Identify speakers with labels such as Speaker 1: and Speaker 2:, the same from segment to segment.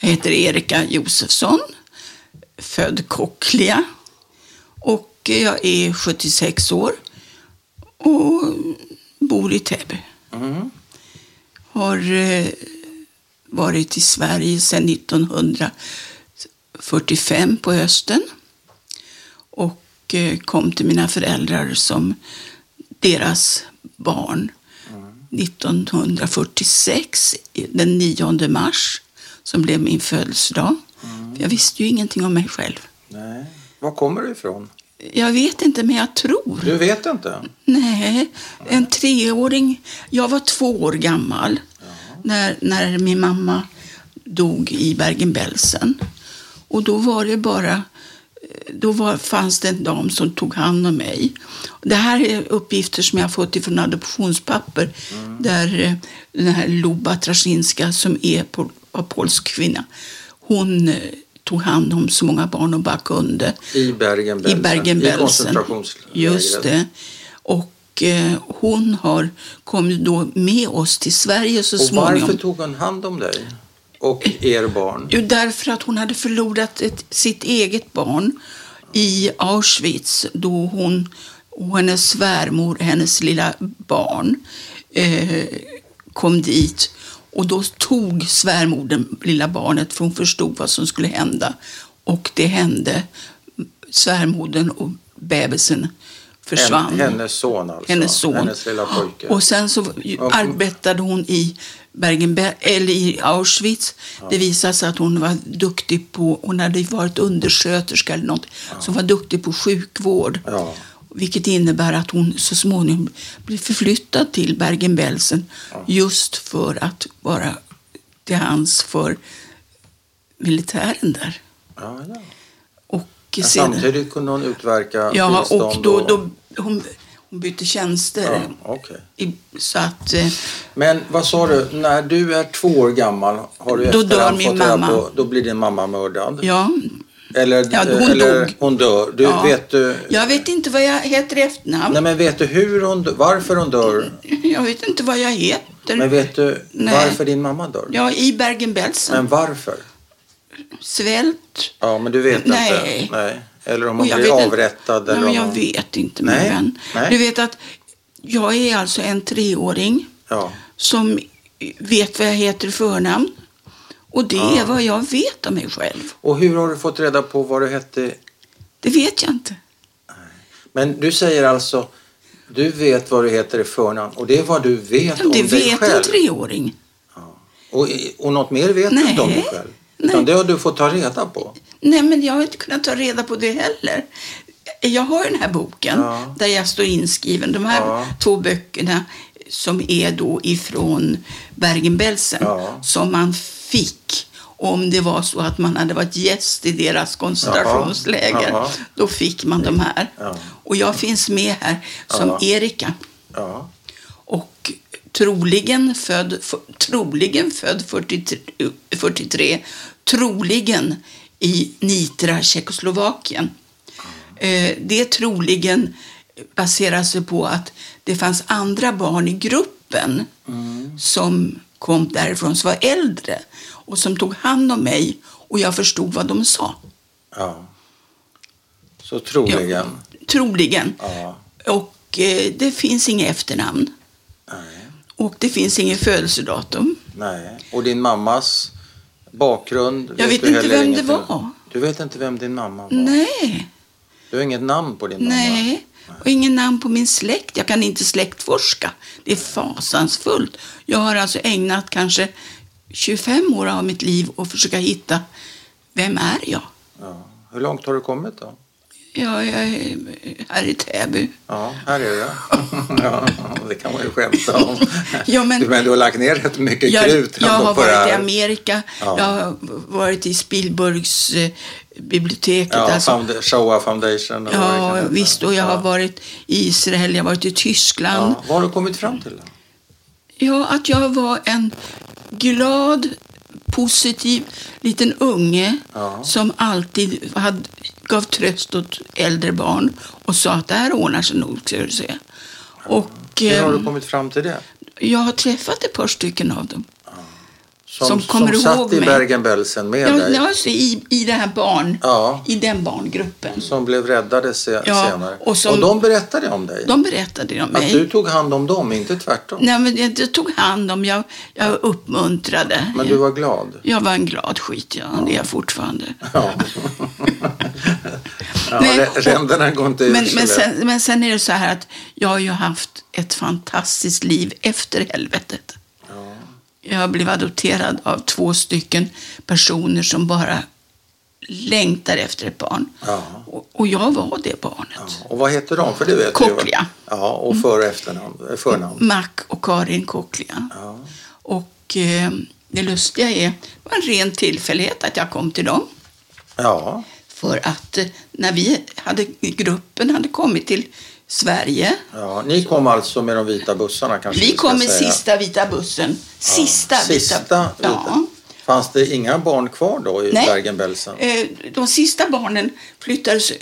Speaker 1: Jag heter Erika Josefsson, född Kocklia och jag är 76 år och bor i Täby. Har eh, varit i Sverige sedan 1945 på hösten och eh, kom till mina föräldrar som deras barn 1946, den 9 mars, som blev min födelsedag. För Jag visste ju ingenting om mig själv.
Speaker 2: Nej. Var kommer du ifrån?
Speaker 1: Jag vet inte, men jag tror.
Speaker 2: Du vet inte?
Speaker 1: Nej, en treåring. Jag var två år gammal när, när min mamma dog i Bergen-Belsen. Och då var det bara eh, då var, fanns det en dam som tog hand om mig. Det här är uppgifter som jag har fått ifrån adoptionspapper där eh, den här Luba Traszinska som är pol, var polsk kvinna, hon eh, tog hand om så många barn hon bara kunde.
Speaker 2: I Bergen-Belsen.
Speaker 1: I Bergen-Belsen.
Speaker 2: I koncentrationslägret.
Speaker 1: Just det. Och eh, hon har, kom ju då med oss till Sverige så
Speaker 2: Och
Speaker 1: småningom.
Speaker 2: varför tog hon hand om dig och er barn?
Speaker 1: Jo, därför att hon hade förlorat ett, sitt eget barn i Auschwitz då hon och hennes svärmor, hennes lilla barn, eh, kom dit. Och då tog svärmodern lilla barnet för hon förstod vad som skulle hända. Och det hände. Svärmodern och bebisen försvann.
Speaker 2: Hen- Hennes son alltså.
Speaker 1: Hennes son.
Speaker 2: Hennes lilla pojke.
Speaker 1: Och sen så arbetade hon i, Bergen, eller i Auschwitz. Det visade sig att hon var duktig på, hon hade ju varit undersköterska eller något, så hon var duktig på sjukvård.
Speaker 2: Ja.
Speaker 1: Vilket innebär att hon så småningom blev förflyttad till Bergen-Belsen just för att vara till hands för militären där.
Speaker 2: Ja, ja.
Speaker 1: Och
Speaker 2: Men
Speaker 1: sedan-
Speaker 2: Samtidigt kunde hon utverka
Speaker 1: Ja,
Speaker 2: tillstånd
Speaker 1: och då, då, hon, hon bytte tjänster.
Speaker 2: Ja, okej.
Speaker 1: I, så att, eh,
Speaker 2: Men vad sa du, när du är två år gammal har du i
Speaker 1: Då
Speaker 2: efterhand
Speaker 1: dör min
Speaker 2: fått reda
Speaker 1: mamma.
Speaker 2: På, då blir din mamma mördad?
Speaker 1: ja,
Speaker 2: Eller,
Speaker 1: Ja, hon
Speaker 2: eller
Speaker 1: dog.
Speaker 2: hon dör. Du,
Speaker 1: ja.
Speaker 2: Vet du,
Speaker 1: Jag vet inte vad jag heter i efternamn.
Speaker 2: Nej, men vet du hur hon dör, varför hon dör?
Speaker 1: Jag vet inte vad jag heter.
Speaker 2: Men vet du
Speaker 1: Nej.
Speaker 2: varför din mamma dör?
Speaker 1: Ja, i Bergen-Belsen.
Speaker 2: Men varför?
Speaker 1: Svält.
Speaker 2: Ja, men du vet
Speaker 1: Nej.
Speaker 2: inte. Nej. Eller om
Speaker 1: Och
Speaker 2: hon
Speaker 1: jag
Speaker 2: blir
Speaker 1: vet inte-
Speaker 2: avrättad.
Speaker 1: Nej,
Speaker 2: eller
Speaker 1: men
Speaker 2: om
Speaker 1: jag
Speaker 2: hon...
Speaker 1: vet inte, min
Speaker 2: Nej,
Speaker 1: vän.
Speaker 2: nej.
Speaker 1: Du vet att jag är alltså en treåring
Speaker 2: Ja.
Speaker 1: som vet vad jag heter i förnamn. Och det är vad jag vet om mig själv.
Speaker 2: Och hur har du fått reda på vad du hette?
Speaker 1: Det vet jag inte.
Speaker 2: Men du säger alltså, du vet vad du heter i förnamn och det är vad du vet om
Speaker 1: Det
Speaker 2: dig
Speaker 1: vet en
Speaker 2: själv.
Speaker 1: treåring.
Speaker 2: Och, och något mer vet du
Speaker 1: Nej.
Speaker 2: inte om dig själv.
Speaker 1: Nej.
Speaker 2: Utan det har du fått ta reda på.
Speaker 1: Nej, men jag har inte kunnat ta reda på det heller. Jag har den här boken
Speaker 2: Ja.
Speaker 1: där jag står inskriven. De här
Speaker 2: Ja.
Speaker 1: två böckerna som är då ifrån Bergen-Belsen
Speaker 2: Ja.
Speaker 1: som man fick om det var så att man hade varit gäst i deras koncentrationsläger.
Speaker 2: Ja.
Speaker 1: Då fick man de här.
Speaker 2: Ja.
Speaker 1: Och jag finns med här som
Speaker 2: Ja.
Speaker 1: Erika
Speaker 2: Ja.
Speaker 1: och troligen född, f- troligen född 43, 43 troligen i Nitra, Tjeckoslovakien.
Speaker 2: Ah.
Speaker 1: Eh, Det troligen baserar sig på att det fanns andra barn i gruppen
Speaker 2: Mm.
Speaker 1: som kom därifrån, som var äldre och som tog hand om mig och jag förstod vad de sa.
Speaker 2: ja. Så
Speaker 1: Ja,
Speaker 2: troligen.
Speaker 1: troligen.
Speaker 2: Ja.
Speaker 1: Och eh, det finns inget efternamn
Speaker 2: Nej.
Speaker 1: och det finns inget födelsedatum.
Speaker 2: Nej. Och din mammas bakgrund? vet
Speaker 1: vet
Speaker 2: du
Speaker 1: inte
Speaker 2: heller
Speaker 1: vem det
Speaker 2: ingenting om.
Speaker 1: var.
Speaker 2: Du vet inte vem din mamma var?
Speaker 1: Nej,
Speaker 2: Du har inget namn på din mamma?
Speaker 1: nej. Och ingen namn på min släkt. Jag kan inte släktforska. Det är fasansfullt. Jag har alltså ägnat kanske 25 år av mitt liv att försöka hitta vem är jag?
Speaker 2: Ja. Hur långt har du kommit då?
Speaker 1: Jag är här i Täby.
Speaker 2: Ja, här är det. ja, det kan man ju skämta om.
Speaker 1: Ja, men-
Speaker 2: Du, men du har lagt ner rätt mycket
Speaker 1: Jag,
Speaker 2: krut
Speaker 1: jag
Speaker 2: ändå
Speaker 1: har
Speaker 2: på det
Speaker 1: varit i
Speaker 2: här.
Speaker 1: Amerika.
Speaker 2: Ja.
Speaker 1: Jag har varit i Spielbergs eh, biblioteket.
Speaker 2: Ja,
Speaker 1: alltså.
Speaker 2: found, Shoah Foundation. och vad det kan
Speaker 1: ja
Speaker 2: heta.
Speaker 1: visst. Och jag
Speaker 2: Ja.
Speaker 1: har varit i Israel, jag har varit i Tyskland.
Speaker 2: Ja, vad har du kommit fram till? Då?
Speaker 1: Ja, att jag var en glad, positiv liten unge
Speaker 2: Ja.
Speaker 1: som alltid hade, gav tröst åt äldre barn och sa att det här ordnar sig nog, ska du se. Och
Speaker 2: Hur har
Speaker 1: eh,
Speaker 2: du kommit fram till det?
Speaker 1: jag har träffat ett par stycken av dem.
Speaker 2: Som,
Speaker 1: Som kommer
Speaker 2: satt
Speaker 1: ihåg
Speaker 2: i
Speaker 1: mig.
Speaker 2: Bergen-Belsen med
Speaker 1: Ja,
Speaker 2: dig.
Speaker 1: det var så i, i, det här barn,
Speaker 2: Ja,
Speaker 1: i den barngruppen.
Speaker 2: som blev räddade se,
Speaker 1: Ja,
Speaker 2: senare.
Speaker 1: och som-
Speaker 2: de berättade om dig.
Speaker 1: De berättade om
Speaker 2: att
Speaker 1: mig.
Speaker 2: du tog hand om dem, inte tvärtom.
Speaker 1: Nej, men jag, jag tog hand om, jag, jag uppmuntrade.
Speaker 2: Men du var glad.
Speaker 1: Jag var en glad skit, ja. Det är jag fortfarande.
Speaker 2: Ja. ja,
Speaker 1: Nej,
Speaker 2: rä-
Speaker 1: och-
Speaker 2: ränderna går inte ut
Speaker 1: Men,
Speaker 2: så
Speaker 1: men,
Speaker 2: lätt.
Speaker 1: sen, men sen är det så här att jag har ju haft ett fantastiskt liv efter helvetet.
Speaker 2: Ja.
Speaker 1: Jag blev adopterad av två stycken personer som bara längtar efter ett barn.
Speaker 2: Ja.
Speaker 1: Och, och jag var det barnet.
Speaker 2: Ja. Och vad heter de? För det vet du, va?
Speaker 1: Kocklia.
Speaker 2: Ja,
Speaker 1: Mm.
Speaker 2: och för och efternamn, eh, förnamn.
Speaker 1: Mac och Karin Koklia.
Speaker 2: Ja.
Speaker 1: Och eh, det lustiga är, det var en ren tillfällighet att jag kom till dem.
Speaker 2: ja,
Speaker 1: För att eh, när vi hade, gruppen hade kommit till Sverige.
Speaker 2: ja. Ni kom alltså med de vita bussarna kanske
Speaker 1: Vi
Speaker 2: Alltså, vi ska
Speaker 1: kom i
Speaker 2: säga.
Speaker 1: sista vita bussen. Sista,
Speaker 2: Sista vita.
Speaker 1: Ja.
Speaker 2: Fanns det inga barn kvar då i
Speaker 1: Nej.
Speaker 2: Bergen-Belsen?
Speaker 1: Eh, De sista barnen flyttades.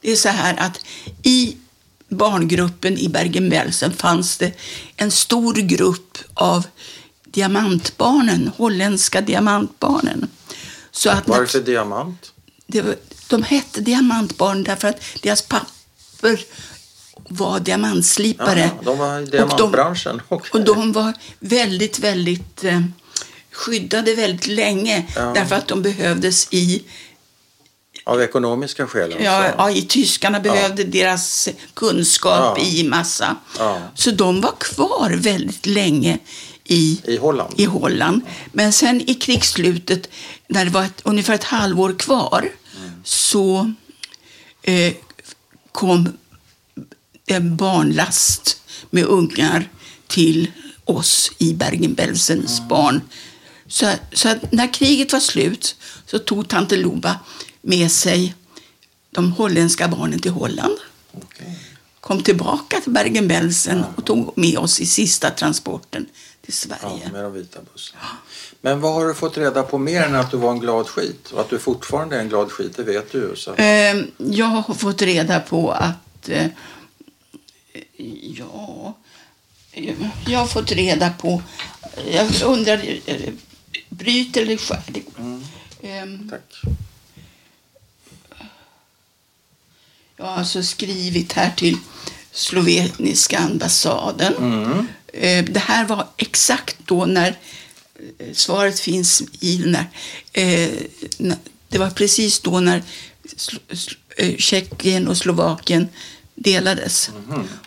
Speaker 1: Det är så här att i barngruppen i Bergen-Belsen fanns det en stor grupp av diamantbarnen, holländska diamantbarnen. Så att när-
Speaker 2: Varför diamant?
Speaker 1: det var, de hette diamantbarn därför att deras papper var diamantslipare.
Speaker 2: Ja, de var i
Speaker 1: Och
Speaker 2: diamantbranschen. Okej.
Speaker 1: Och de var väldigt, väldigt eh, skyddade väldigt länge
Speaker 2: Ja.
Speaker 1: därför att de behövdes i,
Speaker 2: Av ekonomiska skäl alltså?
Speaker 1: ja, ja, i tyskarna behövde deras kunskap
Speaker 2: Ja.
Speaker 1: i massa.
Speaker 2: Ja.
Speaker 1: Så de var kvar väldigt länge i,
Speaker 2: I Holland?
Speaker 1: i Holland. Men sen i krigsslutet, när det var ett, ungefär ett halvår kvar, så eh, kom en barnlast med ungar till oss i Bergen-Belsens barn. Så, så att när kriget var slut så tog tante Loba med sig de holländska barnen till Holland
Speaker 2: Okej.
Speaker 1: kom tillbaka till Bergen-Belsen och tog med oss i sista transporten till
Speaker 2: Ja,
Speaker 1: Sverige.
Speaker 2: med de vita bussarna. Men vad har du fått reda på mer än att du var en glad skit? Och att du fortfarande är en glad skit, det vet du ju. Så.
Speaker 1: Eh, Jag har fått reda på att... eh, Ja... eh, Jag har fått reda på... Jag undrar... eh, Bryt eller skär? det- Ehm,
Speaker 2: Tack.
Speaker 1: Jag har alltså skrivit här till sloveniska ambassaden. Eh, Det här var exakt då när eh, svaret finns i den här. eh, na- Det var precis då när Slo- Slo- eh, Tjeckien och Slovakien delades.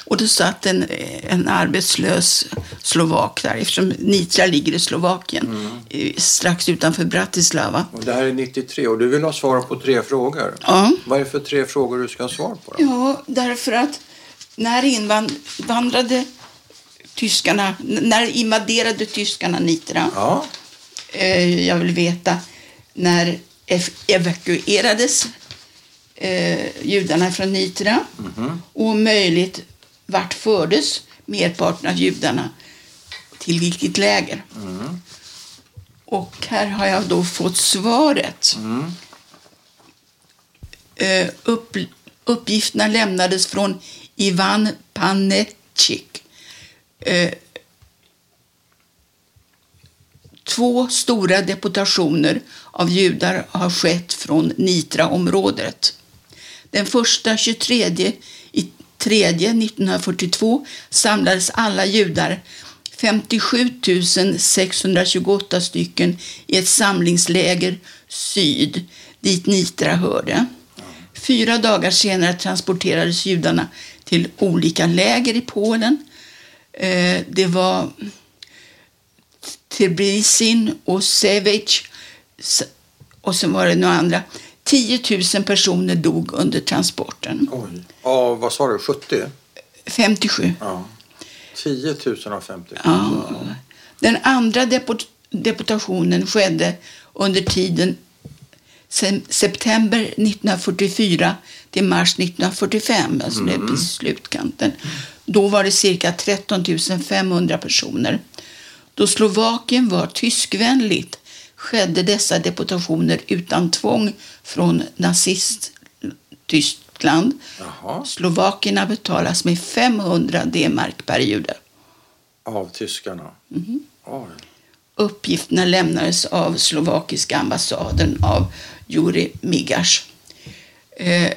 Speaker 1: Och då satt en, eh, en arbetslös slovak där eftersom Nitra ligger i Slovakien eh, strax utanför Bratislava.
Speaker 2: Och det här är 93 och du vill ha svar på tre frågor.
Speaker 1: Ja.
Speaker 2: Vad är det för tre frågor du ska ha svar på? Då?
Speaker 1: Ja, därför att när invandrade tyskarna, n- när invaderade tyskarna Nitra,
Speaker 2: Ja,
Speaker 1: eh, jag vill veta när ev- evakuerades eh, judarna från Nitra och om möjligt vart fördes merparten av judarna till vilket läger. Och här har jag då fått svaret. Eh, upp, uppgifterna lämnades från Ivan Panetchik. Eh, två stora deportationer av judar har skett från Nitra-området. Den första 23 i tredje 1942 samlades alla judar 57 628 stycken i ett samlingsläger syd dit Nitra hörde. Fyra dagar senare transporterades judarna till olika läger i Polen. Eh, Det var Tbilisin och Sevic s- och sen var det några andra. 10 000 personer dog under transporten.
Speaker 2: oj. Ja, vad sa du, 70?
Speaker 1: 57.
Speaker 2: Ja. 10 000 av 50
Speaker 1: Ja. Den andra deport- deportationen skedde under tiden se- september 1944 till mars 1945, alltså det är precis slutkanten. Då var det cirka 13 500 personer. Då Slovakien var tyskvänligt skedde dessa deportationer utan tvång från nazist-Tyskland.
Speaker 2: Jaha.
Speaker 1: Slovakierna betalas med 500 D-mark per jude. Mm-hmm.
Speaker 2: av tyskarna. Oj.
Speaker 1: Uppgifterna lämnades av slovakiska ambassaden av Juri Migas. Eh,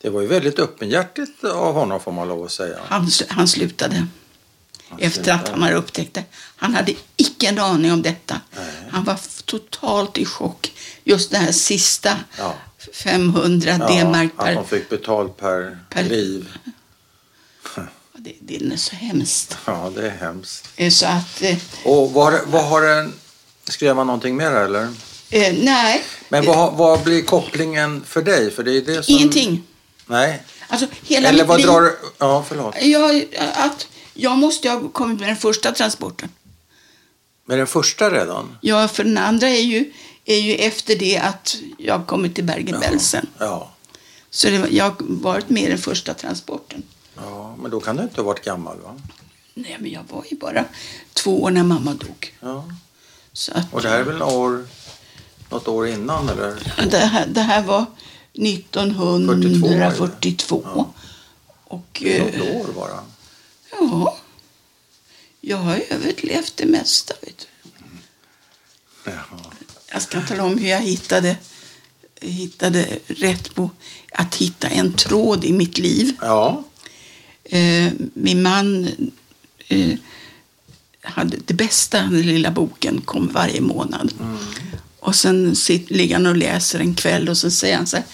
Speaker 2: Det var ju väldigt öppenhjärtigt av honom får man lov att säga.
Speaker 1: han, sl- han slutade efter att han hade upptäckt det. Han hade icke en aning om detta.
Speaker 2: Nej.
Speaker 1: Han var f- totalt i chock. Just den här sista
Speaker 2: Ja.
Speaker 1: 500
Speaker 2: Ja,
Speaker 1: D-mark per...
Speaker 2: Att de fick betalt per,
Speaker 1: per-
Speaker 2: liv.
Speaker 1: Det, det är så hemskt.
Speaker 2: Ja, det är hemskt.
Speaker 1: Eh, Så att... Eh,
Speaker 2: Och vad, vad har den... Skrev man någonting mer eller?
Speaker 1: eh, nej,
Speaker 2: Men vad, vad blir kopplingen för dig? För det är det som...
Speaker 1: ingenting.
Speaker 2: Nej.
Speaker 1: Alltså, hela
Speaker 2: Alltså- Eller
Speaker 1: mitt
Speaker 2: vad
Speaker 1: liv-
Speaker 2: drar du... Ja, förlåt.
Speaker 1: Jag, att jag måste ju ha kommit med den första transporten.
Speaker 2: Med den första redan?
Speaker 1: Ja, för den andra är ju, är ju efter det att jag kommit till Bergen-Belsen.
Speaker 2: Ja.
Speaker 1: Så det, var- jag har varit med i den första transporten.
Speaker 2: ja. Men då kan du inte ha varit gammal va?
Speaker 1: Nej, men jag var ju bara två år när mamma dog.
Speaker 2: Ja.
Speaker 1: Så att,
Speaker 2: Och det här är väl år... Något år innan eller?
Speaker 1: det, här, det här var 1942.
Speaker 2: Ja.
Speaker 1: Och eh,
Speaker 2: Något år bara?
Speaker 1: ja, jag har överlevt det mesta. Vet du.
Speaker 2: Ja.
Speaker 1: Jag ska tala om hur jag hittade, hittade rätt på att hitta en tråd i mitt liv.
Speaker 2: Ja.
Speaker 1: Eh, min man eh, hade det bästa, den lilla boken, kom varje månad. Och sen sit, ligger han och läser en kväll och så säger han så här.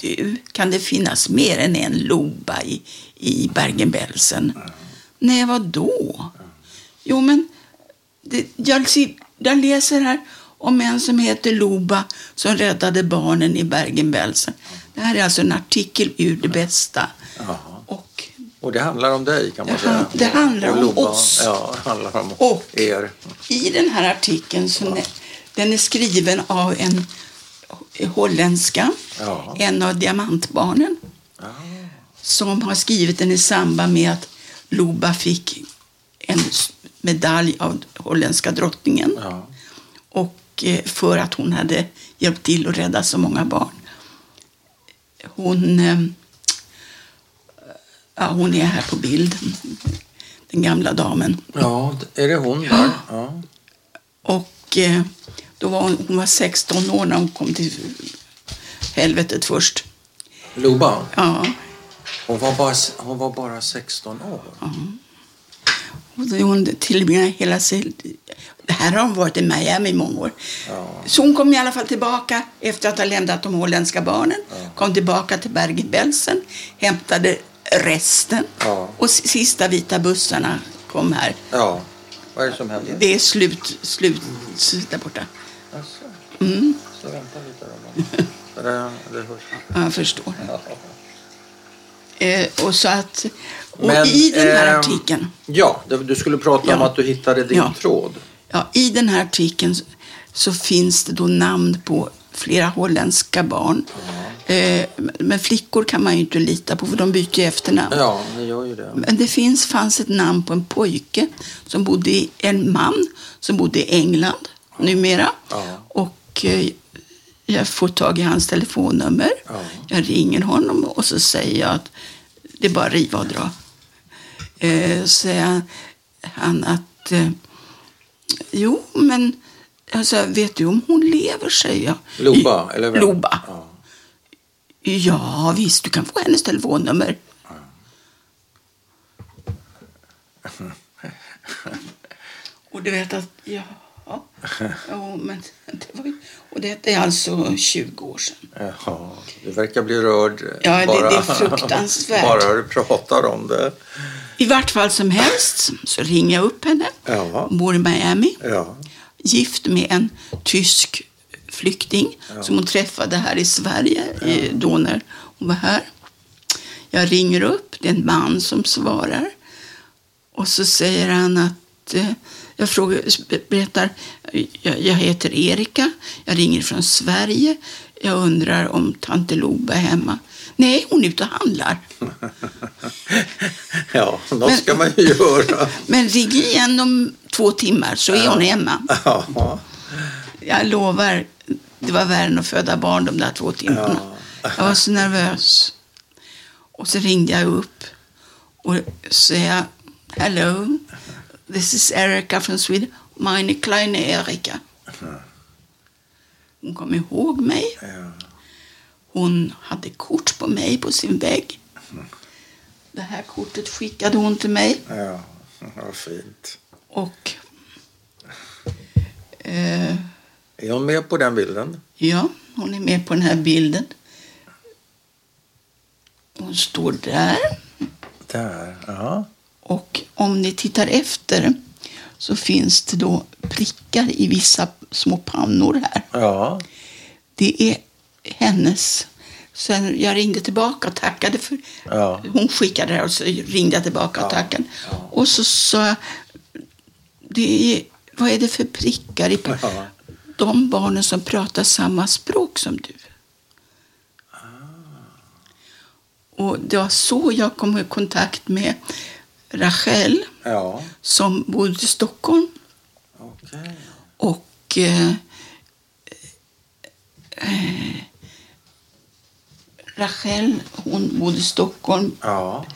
Speaker 1: Du, kan det finnas mer än en Loba i, i Bergen-Belsen? Nej, vad då? Jo, men det, jag, si- jag läser här om en som heter Loba som räddade barnen i Bergen-Belsen. Det här är alltså en artikel ur Det bästa.
Speaker 2: Jaha.
Speaker 1: Och,
Speaker 2: Och det handlar om dig kan man
Speaker 1: Det
Speaker 2: säga.
Speaker 1: han- det handlar
Speaker 2: Och
Speaker 1: om
Speaker 2: Loba.
Speaker 1: oss.
Speaker 2: Ja, det handlar om
Speaker 1: Och-
Speaker 2: er.
Speaker 1: I den här artikeln, som är, den är skriven av en holländska,
Speaker 2: Ja.
Speaker 1: en av diamantbarnen,
Speaker 2: Ja.
Speaker 1: som har skrivit den i samband med att Loba fick en s- medalj av holländska drottningen
Speaker 2: Ja.
Speaker 1: och eh, för att hon hade hjälpt till att rädda så många barn. Hon, eh, ja, hon är här på bild, den gamla damen.
Speaker 2: ja, är det hon där? Ja.
Speaker 1: Och eh, då var hon, hon var 16 år när hon kom till helvetet först.
Speaker 2: Loba,
Speaker 1: Ja,
Speaker 2: hon var, bara, hon var bara 16 år.
Speaker 1: och då hon tillbringade hela sitt... Det här har hon varit i Miami i många år.
Speaker 2: Ja.
Speaker 1: Så hon kom i alla fall tillbaka efter att ha lämnat de holländska barnen. Kom tillbaka till Bergen-Belsen, hämtade resten.
Speaker 2: Ja.
Speaker 1: Och s- sista vita bussarna kom här.
Speaker 2: Ja. Vad är det som händer?
Speaker 1: Det är slut, slut där borta.
Speaker 2: Alltså.
Speaker 1: Mm.
Speaker 2: Så vänta lite då. Det, där, det hörs.
Speaker 1: Ja, jag förstår.
Speaker 2: Ja.
Speaker 1: Eh, och så att, och
Speaker 2: Men,
Speaker 1: i den här
Speaker 2: ehm,
Speaker 1: artikeln
Speaker 2: Ja, det- du skulle prata om
Speaker 1: Ja.
Speaker 2: att du hittade din
Speaker 1: Ja.
Speaker 2: tråd.
Speaker 1: Ja, I den här artikeln så- så finns det då namn på flera holländska barn. Eh, men flickor kan man ju inte lita på för de byter ju efternamn.
Speaker 2: Ja, ni gör ju det.
Speaker 1: Men det finns, fanns ett namn på en pojke, som bodde i, en man som bodde i England numera.
Speaker 2: Ja.
Speaker 1: Och eh, jag får tag i hans telefonnummer.
Speaker 2: Ja.
Speaker 1: Jag ringer honom och så säger jag att det är bara att riva och dra. Eh, så säger han att eh, jo, men alltså, vet du om hon lever, säger jag.
Speaker 2: Loba, eller vem?
Speaker 1: Loba.
Speaker 2: Ja.
Speaker 1: Ja, visst, du kan få hennes telefonnummer. Och du vet att, ja, ja men det var ju, och det är alltså 20 år sedan.
Speaker 2: Jaha, du verkar bli rörd
Speaker 1: Ja, det- det är fruktansvärt.
Speaker 2: bara du pratar om det.
Speaker 1: I vart fall som helst så ringer jag upp henne.
Speaker 2: Ja.
Speaker 1: Hon bor i Miami.
Speaker 2: Ja,
Speaker 1: Gift med en tysk flykting som hon träffade här i Sverige i, då när hon var här. Jag ringer upp. Det är en man som svarar. Och så säger han att eh, jag frågar, berättar, jag, jag heter Erika, jag ringer från Sverige, jag undrar om tant Loba är hemma. Nej, hon är ute och handlar.
Speaker 2: ja något
Speaker 1: Men-
Speaker 2: ska man ju göra.
Speaker 1: Men ring igen om två timmar så är hon hemma.
Speaker 2: Ja.
Speaker 1: Jag lovar, det var värre än att föda barn de där två timmarna. Jag var så nervös. Och så ringde jag upp och sa hello, this is Erica from Sweden. Meine kleine Erika. Hon kom ihåg mig.
Speaker 2: Ja.
Speaker 1: Hon hade kort på mig på sin vägg. Det här kortet skickade hon till mig.
Speaker 2: Ja, vad fint.
Speaker 1: Och... Eh,
Speaker 2: Är hon med på den bilden?
Speaker 1: Ja, hon är med på den här bilden. Hon står där.
Speaker 2: Där, ja.
Speaker 1: Och om ni tittar efter så finns det då prickar i vissa små pannor här.
Speaker 2: Ja,
Speaker 1: Det är hennes. Sen jag ringde tillbaka och tackade. För,
Speaker 2: Ja.
Speaker 1: Hon skickade det och så ringde jag tillbaka och
Speaker 2: Ja,
Speaker 1: tackade.
Speaker 2: ja.
Speaker 1: Och så sa jag, det är, vad är det för prickar i pa-
Speaker 2: Ja.
Speaker 1: De barnen som pratar samma språk som du.
Speaker 2: Ah.
Speaker 1: Och det var så jag kom i kontakt med Rachel
Speaker 2: ja.
Speaker 1: som bodde i Stockholm
Speaker 2: okej.
Speaker 1: och eh, eh, Rachel, hon bodde i Stockholm.
Speaker 2: Ja,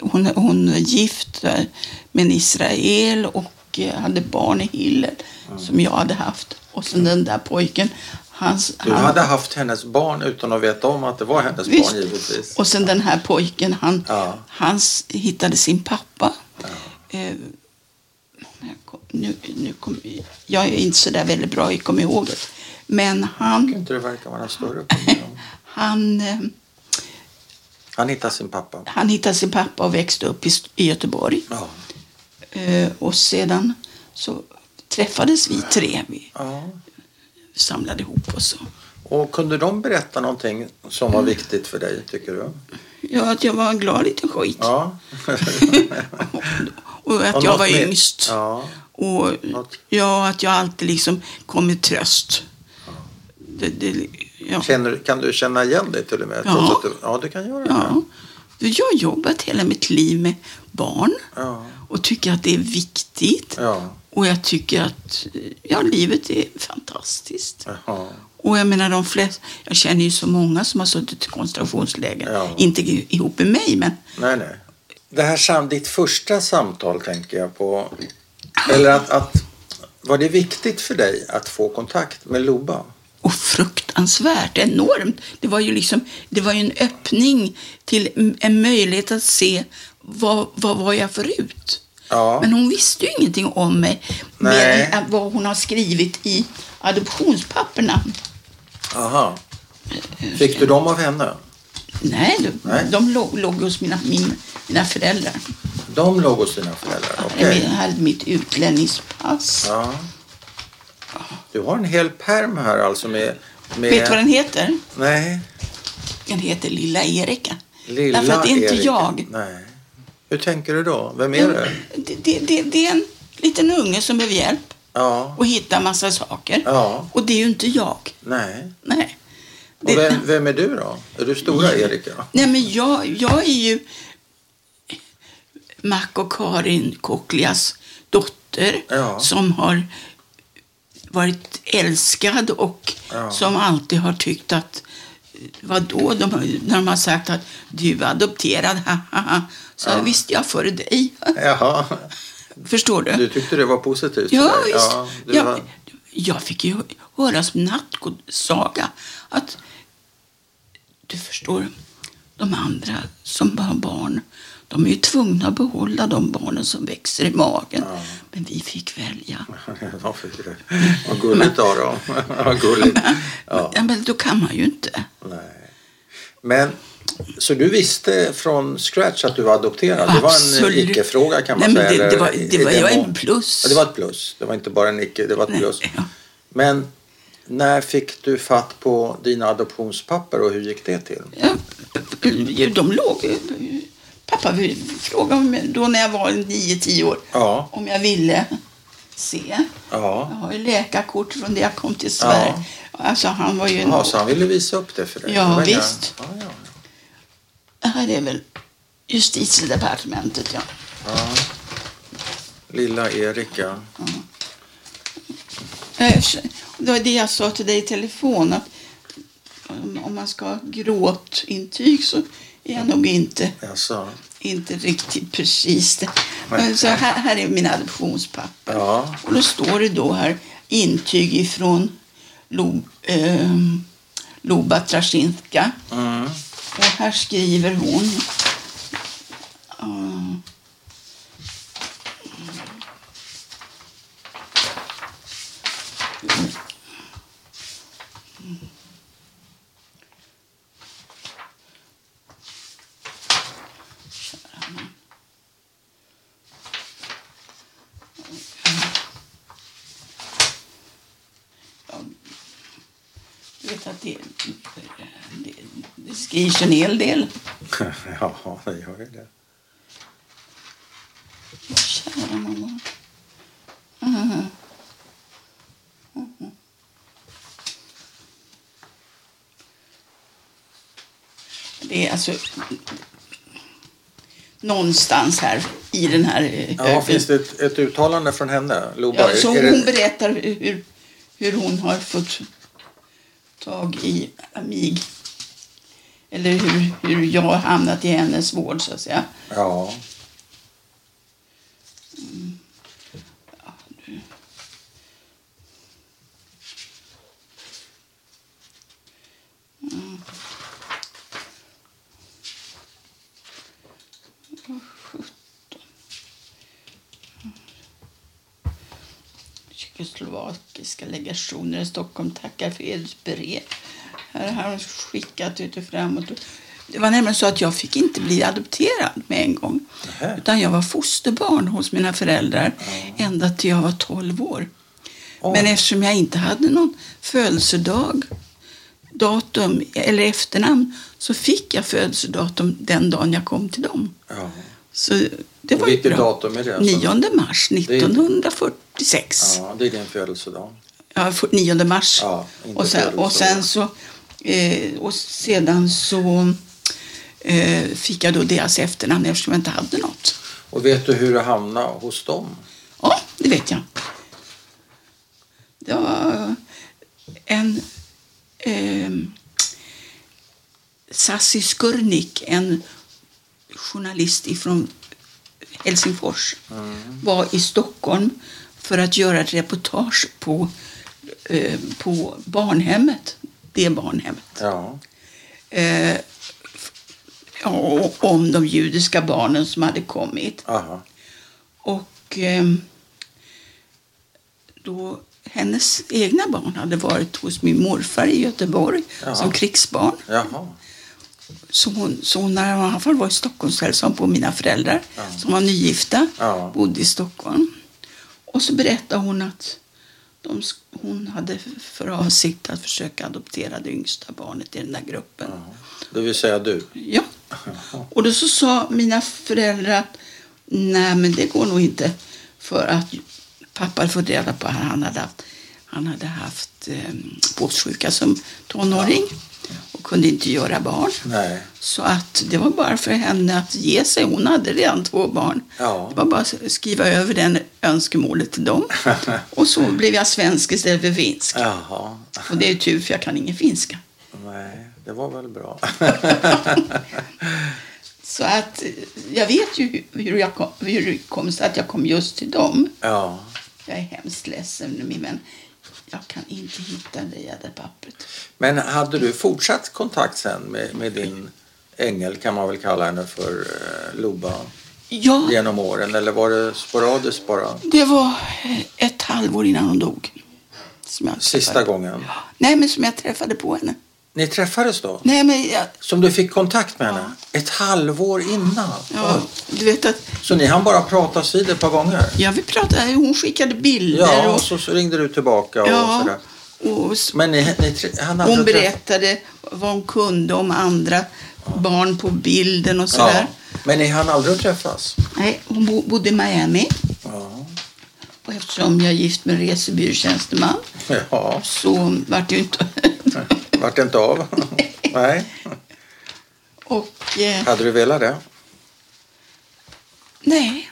Speaker 1: Hon, hon är gift eh, med en Israel och eh, hade barn i Hillel
Speaker 2: Mm.
Speaker 1: som jag hade haft. Och sen den där pojken. Hans,
Speaker 2: du hade haft hennes barn utan att veta om att det var hennes
Speaker 1: Visst.
Speaker 2: barn givetvis.
Speaker 1: Och sen den här pojken, han,
Speaker 2: Ja.
Speaker 1: han s- hittade sin pappa. Eh, jag kom- nu, nu kom, jag är inte så där väldigt bra i att komma ihåg det. Men
Speaker 2: Jag tycker
Speaker 1: han,
Speaker 2: inte det verkar vara några större problem.
Speaker 1: han, eh,
Speaker 2: Han hittar sin pappa.
Speaker 1: han hittade sin pappa och växte upp i, St- i Göteborg.
Speaker 2: Ja,
Speaker 1: Eh, och sedan så träffades vi tre. Vi
Speaker 2: ja.
Speaker 1: samlade ihop oss. och-
Speaker 2: Och kunde de berätta någonting som
Speaker 1: Mm.
Speaker 2: var viktigt för dig, tycker du?
Speaker 1: Ja, att jag var en glad liten skit.
Speaker 2: Ja.
Speaker 1: Och att
Speaker 2: Och
Speaker 1: jag
Speaker 2: något
Speaker 1: var
Speaker 2: mer?
Speaker 1: yngst.
Speaker 2: Ja.
Speaker 1: Och
Speaker 2: Något.
Speaker 1: ja, att jag alltid liksom kom med tröst. Det, det, ja.
Speaker 2: Känner, kan du känna igen dig till och med?
Speaker 1: Ja.
Speaker 2: Trots att Du, ja, du kan göra
Speaker 1: Ja.
Speaker 2: det.
Speaker 1: Jag har jobbat hela mitt liv med barn
Speaker 2: Ja.
Speaker 1: och tycker att det är viktigt.
Speaker 2: Ja.
Speaker 1: Och jag tycker att ja, livet är fantastiskt.
Speaker 2: Jaha.
Speaker 1: Och jag menar de flesta, jag känner ju så många som har suttit i koncentrationsläger.
Speaker 2: Ja.
Speaker 1: Inte ihop med mig, men
Speaker 2: Nej, nej. Det här sam, ditt första samtal tänker jag på. Eller att, att var det viktigt för dig att få kontakt med Loba?
Speaker 1: och fruktansvärt enormt. Det var ju liksom, det var ju en öppning till m- en möjlighet att se vad, vad var jag förut.
Speaker 2: Ja.
Speaker 1: Men hon visste ju ingenting om mig,
Speaker 2: Nej.
Speaker 1: mer än att vad hon har skrivit i adoptionspapperna.
Speaker 2: Aha. Fick du dem av henne?
Speaker 1: Nej, de,
Speaker 2: Nej.
Speaker 1: de låg, låg hos mina, min, mina föräldrar.
Speaker 2: De låg hos dina föräldrar?
Speaker 1: Jag
Speaker 2: Okej.
Speaker 1: hade, hade mitt utlänningspass.
Speaker 2: Ja. Du har en hel perm här alltså med... med...
Speaker 1: Vet du vad den heter?
Speaker 2: Nej.
Speaker 1: Den heter Lilla Erika.
Speaker 2: Lilla
Speaker 1: Därför att det är inte
Speaker 2: Erik.
Speaker 1: jag.
Speaker 2: Nej. Hur tänker du då? Vem är det?
Speaker 1: Det, det, det, det är en liten unge som behöver hjälp.
Speaker 2: Ja.
Speaker 1: och hitta massa saker.
Speaker 2: Ja.
Speaker 1: Och det är ju inte jag.
Speaker 2: Nej.
Speaker 1: Nej.
Speaker 2: Och
Speaker 1: Det- Mm.
Speaker 2: vem, vem är du då? Är du stora Erika?
Speaker 1: Nej, men jag, jag är ju Mac och Karin Kocklias dotter
Speaker 2: Ja.
Speaker 1: som har varit älskad och
Speaker 2: Ja.
Speaker 1: som alltid har tyckt att vadå, de, har- när de har sagt att du är adopterad, ha, ha, ha. så
Speaker 2: Ja.
Speaker 1: visste jag före dig.
Speaker 2: Jaha.
Speaker 1: Förstår du?
Speaker 2: Du tyckte det var positivt för
Speaker 1: Ja,
Speaker 2: dig?
Speaker 1: visst.
Speaker 2: du
Speaker 1: jag,
Speaker 2: har-
Speaker 1: jag fick ju höra som nattsaga att du förstår, de andra som har barn, de är ju tvungna att behålla de barnen som växer i magen.
Speaker 2: Ja.
Speaker 1: Men vi fick välja.
Speaker 2: Ja, fick det. Vad gulligt av dem. Vad gulligt. Ja,
Speaker 1: Ja, men då kan man ju inte.
Speaker 2: nej. Men, så du visste från scratch att du var adopterad? Det var en
Speaker 1: Absolut.
Speaker 2: icke-fråga kan man
Speaker 1: Nej, men
Speaker 2: säga.
Speaker 1: det- det
Speaker 2: eller
Speaker 1: var-
Speaker 2: i-
Speaker 1: det
Speaker 2: i
Speaker 1: var- det var
Speaker 2: demo.
Speaker 1: en plus.
Speaker 2: Ja, det var ett plus. Det var inte bara en icke, det var ett
Speaker 1: Nej,
Speaker 2: plus.
Speaker 1: ja.
Speaker 2: Men när fick du fatt på dina adoptionspapper och hur gick det till?
Speaker 1: Ja, De låg... Pappa frågade mig då när jag var 9-10 år
Speaker 2: Ja.
Speaker 1: om jag ville se. Jag
Speaker 2: Ja.
Speaker 1: har ju läkarkort från det jag kom till Sverige. Alltså han var ju en...
Speaker 2: ja, så han ville visa upp det för dig?
Speaker 1: Ja,
Speaker 2: Det var inga-
Speaker 1: visst.
Speaker 2: Ja, ja.
Speaker 1: Det här är väl justitiedepartementet, ja.
Speaker 2: Ja. Lilla Erika.
Speaker 1: Eh, Det var det jag sa till dig i telefon att om- om man ska ha gråtintyg så är jag nog inte,
Speaker 2: Alltså,
Speaker 1: inte riktigt precis det. Men Så här, här är mina adoptionspapper.
Speaker 2: Ja.
Speaker 1: Och då står det då här intyg ifrån Lo, eh, Loba Trashinska.
Speaker 2: Mm.
Speaker 1: Och här skriver hon. eh, Jag vet att det, det, det skrivs en hel del.
Speaker 2: ja, det gör ju det.
Speaker 1: Kära mamma. Det är alltså någonstans här i den här... eh,
Speaker 2: Ja, finns det ett, ett uttalande från henne? Loba?
Speaker 1: Ja, så
Speaker 2: Är
Speaker 1: hon
Speaker 2: det-
Speaker 1: berättar hur, hur hon har fått tag i mig. Eller hur, hur jag har hamnat i hennes vård, så att säga.
Speaker 2: Ja.
Speaker 1: Tjeckoslovakiska legationer i Stockholm tackar för ert brev. Här har de skickat ut och framåt. Det var nämligen så att jag fick inte bli adopterad med en gång.
Speaker 2: Nähä.
Speaker 1: Utan jag var fosterbarn hos mina föräldrar ända till jag var 12 år.
Speaker 2: Oj.
Speaker 1: Men eftersom jag inte hade någon födelsedag, datum eller efternamn så fick jag födelsedatum den dagen jag kom till dem.
Speaker 2: ja.
Speaker 1: Så det
Speaker 2: Och
Speaker 1: var ju
Speaker 2: vilket
Speaker 1: bra.
Speaker 2: datum är det?
Speaker 1: 9 mars
Speaker 2: är-
Speaker 1: 1946.
Speaker 2: Ja, det är din födelsedag.
Speaker 1: Ja, för- 9 mars.
Speaker 2: Ja, inte
Speaker 1: och, sen, och sen så... Eh, och sedan så eh, fick jag då deras efternamn eftersom jag inte hade något.
Speaker 2: Och vet du hur du hamnade hos dem?
Speaker 1: Ja, det vet jag. Det var en... Eh, Sassi Skurnik, en journalist ifrån Helsingfors, var i Stockholm för att göra ett reportage på, eh, på barnhemmet, det barnhemmet,
Speaker 2: Ja.
Speaker 1: eh, f- ja, och om de judiska barnen som hade kommit.
Speaker 2: Aha.
Speaker 1: Och ehm, då hennes egna barn hade varit hos min morfar i Göteborg
Speaker 2: Jaha.
Speaker 1: som krigsbarn.
Speaker 2: Jaha.
Speaker 1: Så, hon, så hon, när han var- var i Stockholm så hälsade hon på mina föräldrar
Speaker 2: Ja.
Speaker 1: som var nygifta,
Speaker 2: Ja.
Speaker 1: bodde i Stockholm. Och så berättade hon att de, sk- hon hade för avsikt att försöka adoptera det yngsta barnet i den där gruppen.
Speaker 2: Det vill säga du.
Speaker 1: Ja. Och då så sa mina föräldrar att nej men det går nog inte för att pappa hade fått reda på att han hade haft, han hade haft eh, båtsjuka som tonåring och kunde inte göra barn.
Speaker 2: Nej.
Speaker 1: Så att det var bara för henne att ge sig. Hon hade redan två barn.
Speaker 2: Ja.
Speaker 1: Det var bara att skriva över den önskemålet till dem. och så blev jag svensk istället för finsk.
Speaker 2: Jaha.
Speaker 1: Och det är ju tur för jag kan ingen finska.
Speaker 2: Nej, det var väl bra.
Speaker 1: Så att eh, jag vet ju hur- hur, jag kom, hur det kom sig att jag kom just till dem.
Speaker 2: ja.
Speaker 1: Jag är hemskt ledsen nu min vän. Jag kan inte hitta det jävla pappret.
Speaker 2: Men hade du fortsatt kontakt sen med, med din ängel, kan man väl kalla henne för, eh, Loba,
Speaker 1: Ja,
Speaker 2: genom åren? Eller var det sporadiskt bara?
Speaker 1: det var ett halvår innan hon dog. Som jag
Speaker 2: Sista
Speaker 1: träffade-
Speaker 2: gången?
Speaker 1: Nej, men som jag träffade på henne.
Speaker 2: Ni träffades då?
Speaker 1: Nej, men jag,
Speaker 2: Som du fick kontakt med henne? Ett halvår innan?
Speaker 1: ja, du vet att
Speaker 2: Så ni hann bara pratas vid ett par gånger?
Speaker 1: jag vill prata. Hon skickade bilder
Speaker 2: Ja,
Speaker 1: och,
Speaker 2: och så, så ringde du tillbaka och
Speaker 1: ja,
Speaker 2: sådär.
Speaker 1: och s-
Speaker 2: Men ni, ni, tre- han hade
Speaker 1: Hon
Speaker 2: träff-
Speaker 1: berättade vad hon kunde om andra barn på bilden och sådär.
Speaker 2: Ja, men ni hann aldrig att träffas?
Speaker 1: Nej, hon bo- bodde i Miami.
Speaker 2: Ja.
Speaker 1: Och eftersom jag är gift med en resebyråtjänsteman
Speaker 2: ja.
Speaker 1: så vart det ju inte...
Speaker 2: Vart det inte av? Nej.
Speaker 1: och... Eh,
Speaker 2: Hade du velat det?
Speaker 1: nej.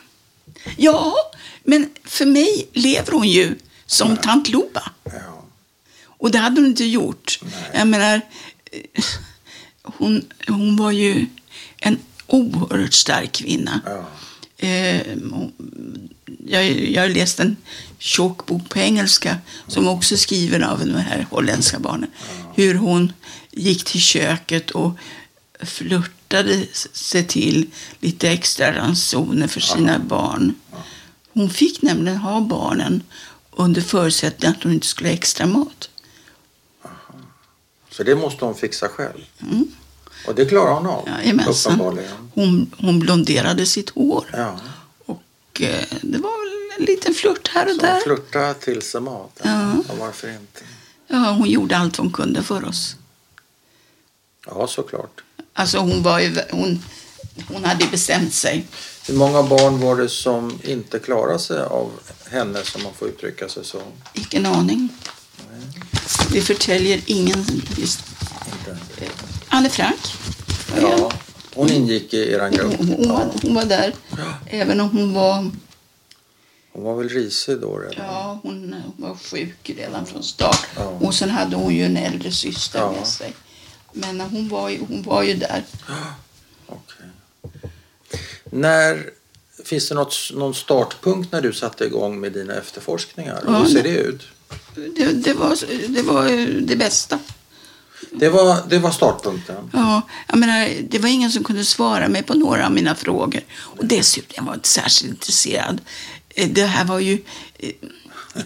Speaker 1: Ja, men för mig lever hon ju som tant Loba.
Speaker 2: Ja.
Speaker 1: Och det hade hon inte gjort. Jag menar, eh, hon, hon var ju en oerhört stark kvinna.
Speaker 2: Ja.
Speaker 1: Eh, jag, jag har läst en tjock bok på engelska som också är skriven av de här holländska barnen. Hur hon gick till köket och flörtade sig till lite extra ransoner för sina barn. Hon fick nämligen ha barnen under förutsättning att hon inte skulle ha extra mat.
Speaker 2: Så det måste hon fixa själv.
Speaker 1: Mm.
Speaker 2: Och det klarar hon av,
Speaker 1: Jajamensan.
Speaker 2: uppenbarligen.
Speaker 1: Hon, hon blonderade sitt hår.
Speaker 2: Ja.
Speaker 1: Och eh, det var väl en liten flört här och
Speaker 2: Så hon
Speaker 1: där.
Speaker 2: flörtar till sig mat.
Speaker 1: Ja.
Speaker 2: Ja, varför inte?
Speaker 1: Ja, hon gjorde allt hon kunde för oss.
Speaker 2: Ja, såklart.
Speaker 1: Alltså hon var ju, hon, hon hade ju bestämt sig.
Speaker 2: Hur många barn var det som inte klarade sig av henne, som man får uttrycka sig så?
Speaker 1: Ingen aning. Det förtäljer ingen. Just.
Speaker 2: Inte.
Speaker 1: Anne Frank. var ju en-
Speaker 2: Ja, hon ingick i er grupp.
Speaker 1: Hon, hon, var,
Speaker 2: Ja.
Speaker 1: hon var där, även om hon var,
Speaker 2: Hon var väl risig då redan?
Speaker 1: ja, hon var sjuk redan från start.
Speaker 2: Ja.
Speaker 1: Och sen hade hon ju en äldre syster
Speaker 2: Ja.
Speaker 1: med sig. Men hon var, ju, hon var ju där.
Speaker 2: Okej. När, finns det något, någon startpunkt när du satte igång med dina efterforskningar?
Speaker 1: Ja,
Speaker 2: Hur
Speaker 1: det-
Speaker 2: ser det ut?
Speaker 1: Det, det, var, det var ju det bästa.
Speaker 2: Det var, det var startpunkten.
Speaker 1: Ja, jag menar, det var ingen som kunde svara mig på några av mina frågor. Och dessutom var jag inte särskilt intresserad. Eh, Det här var ju eh, i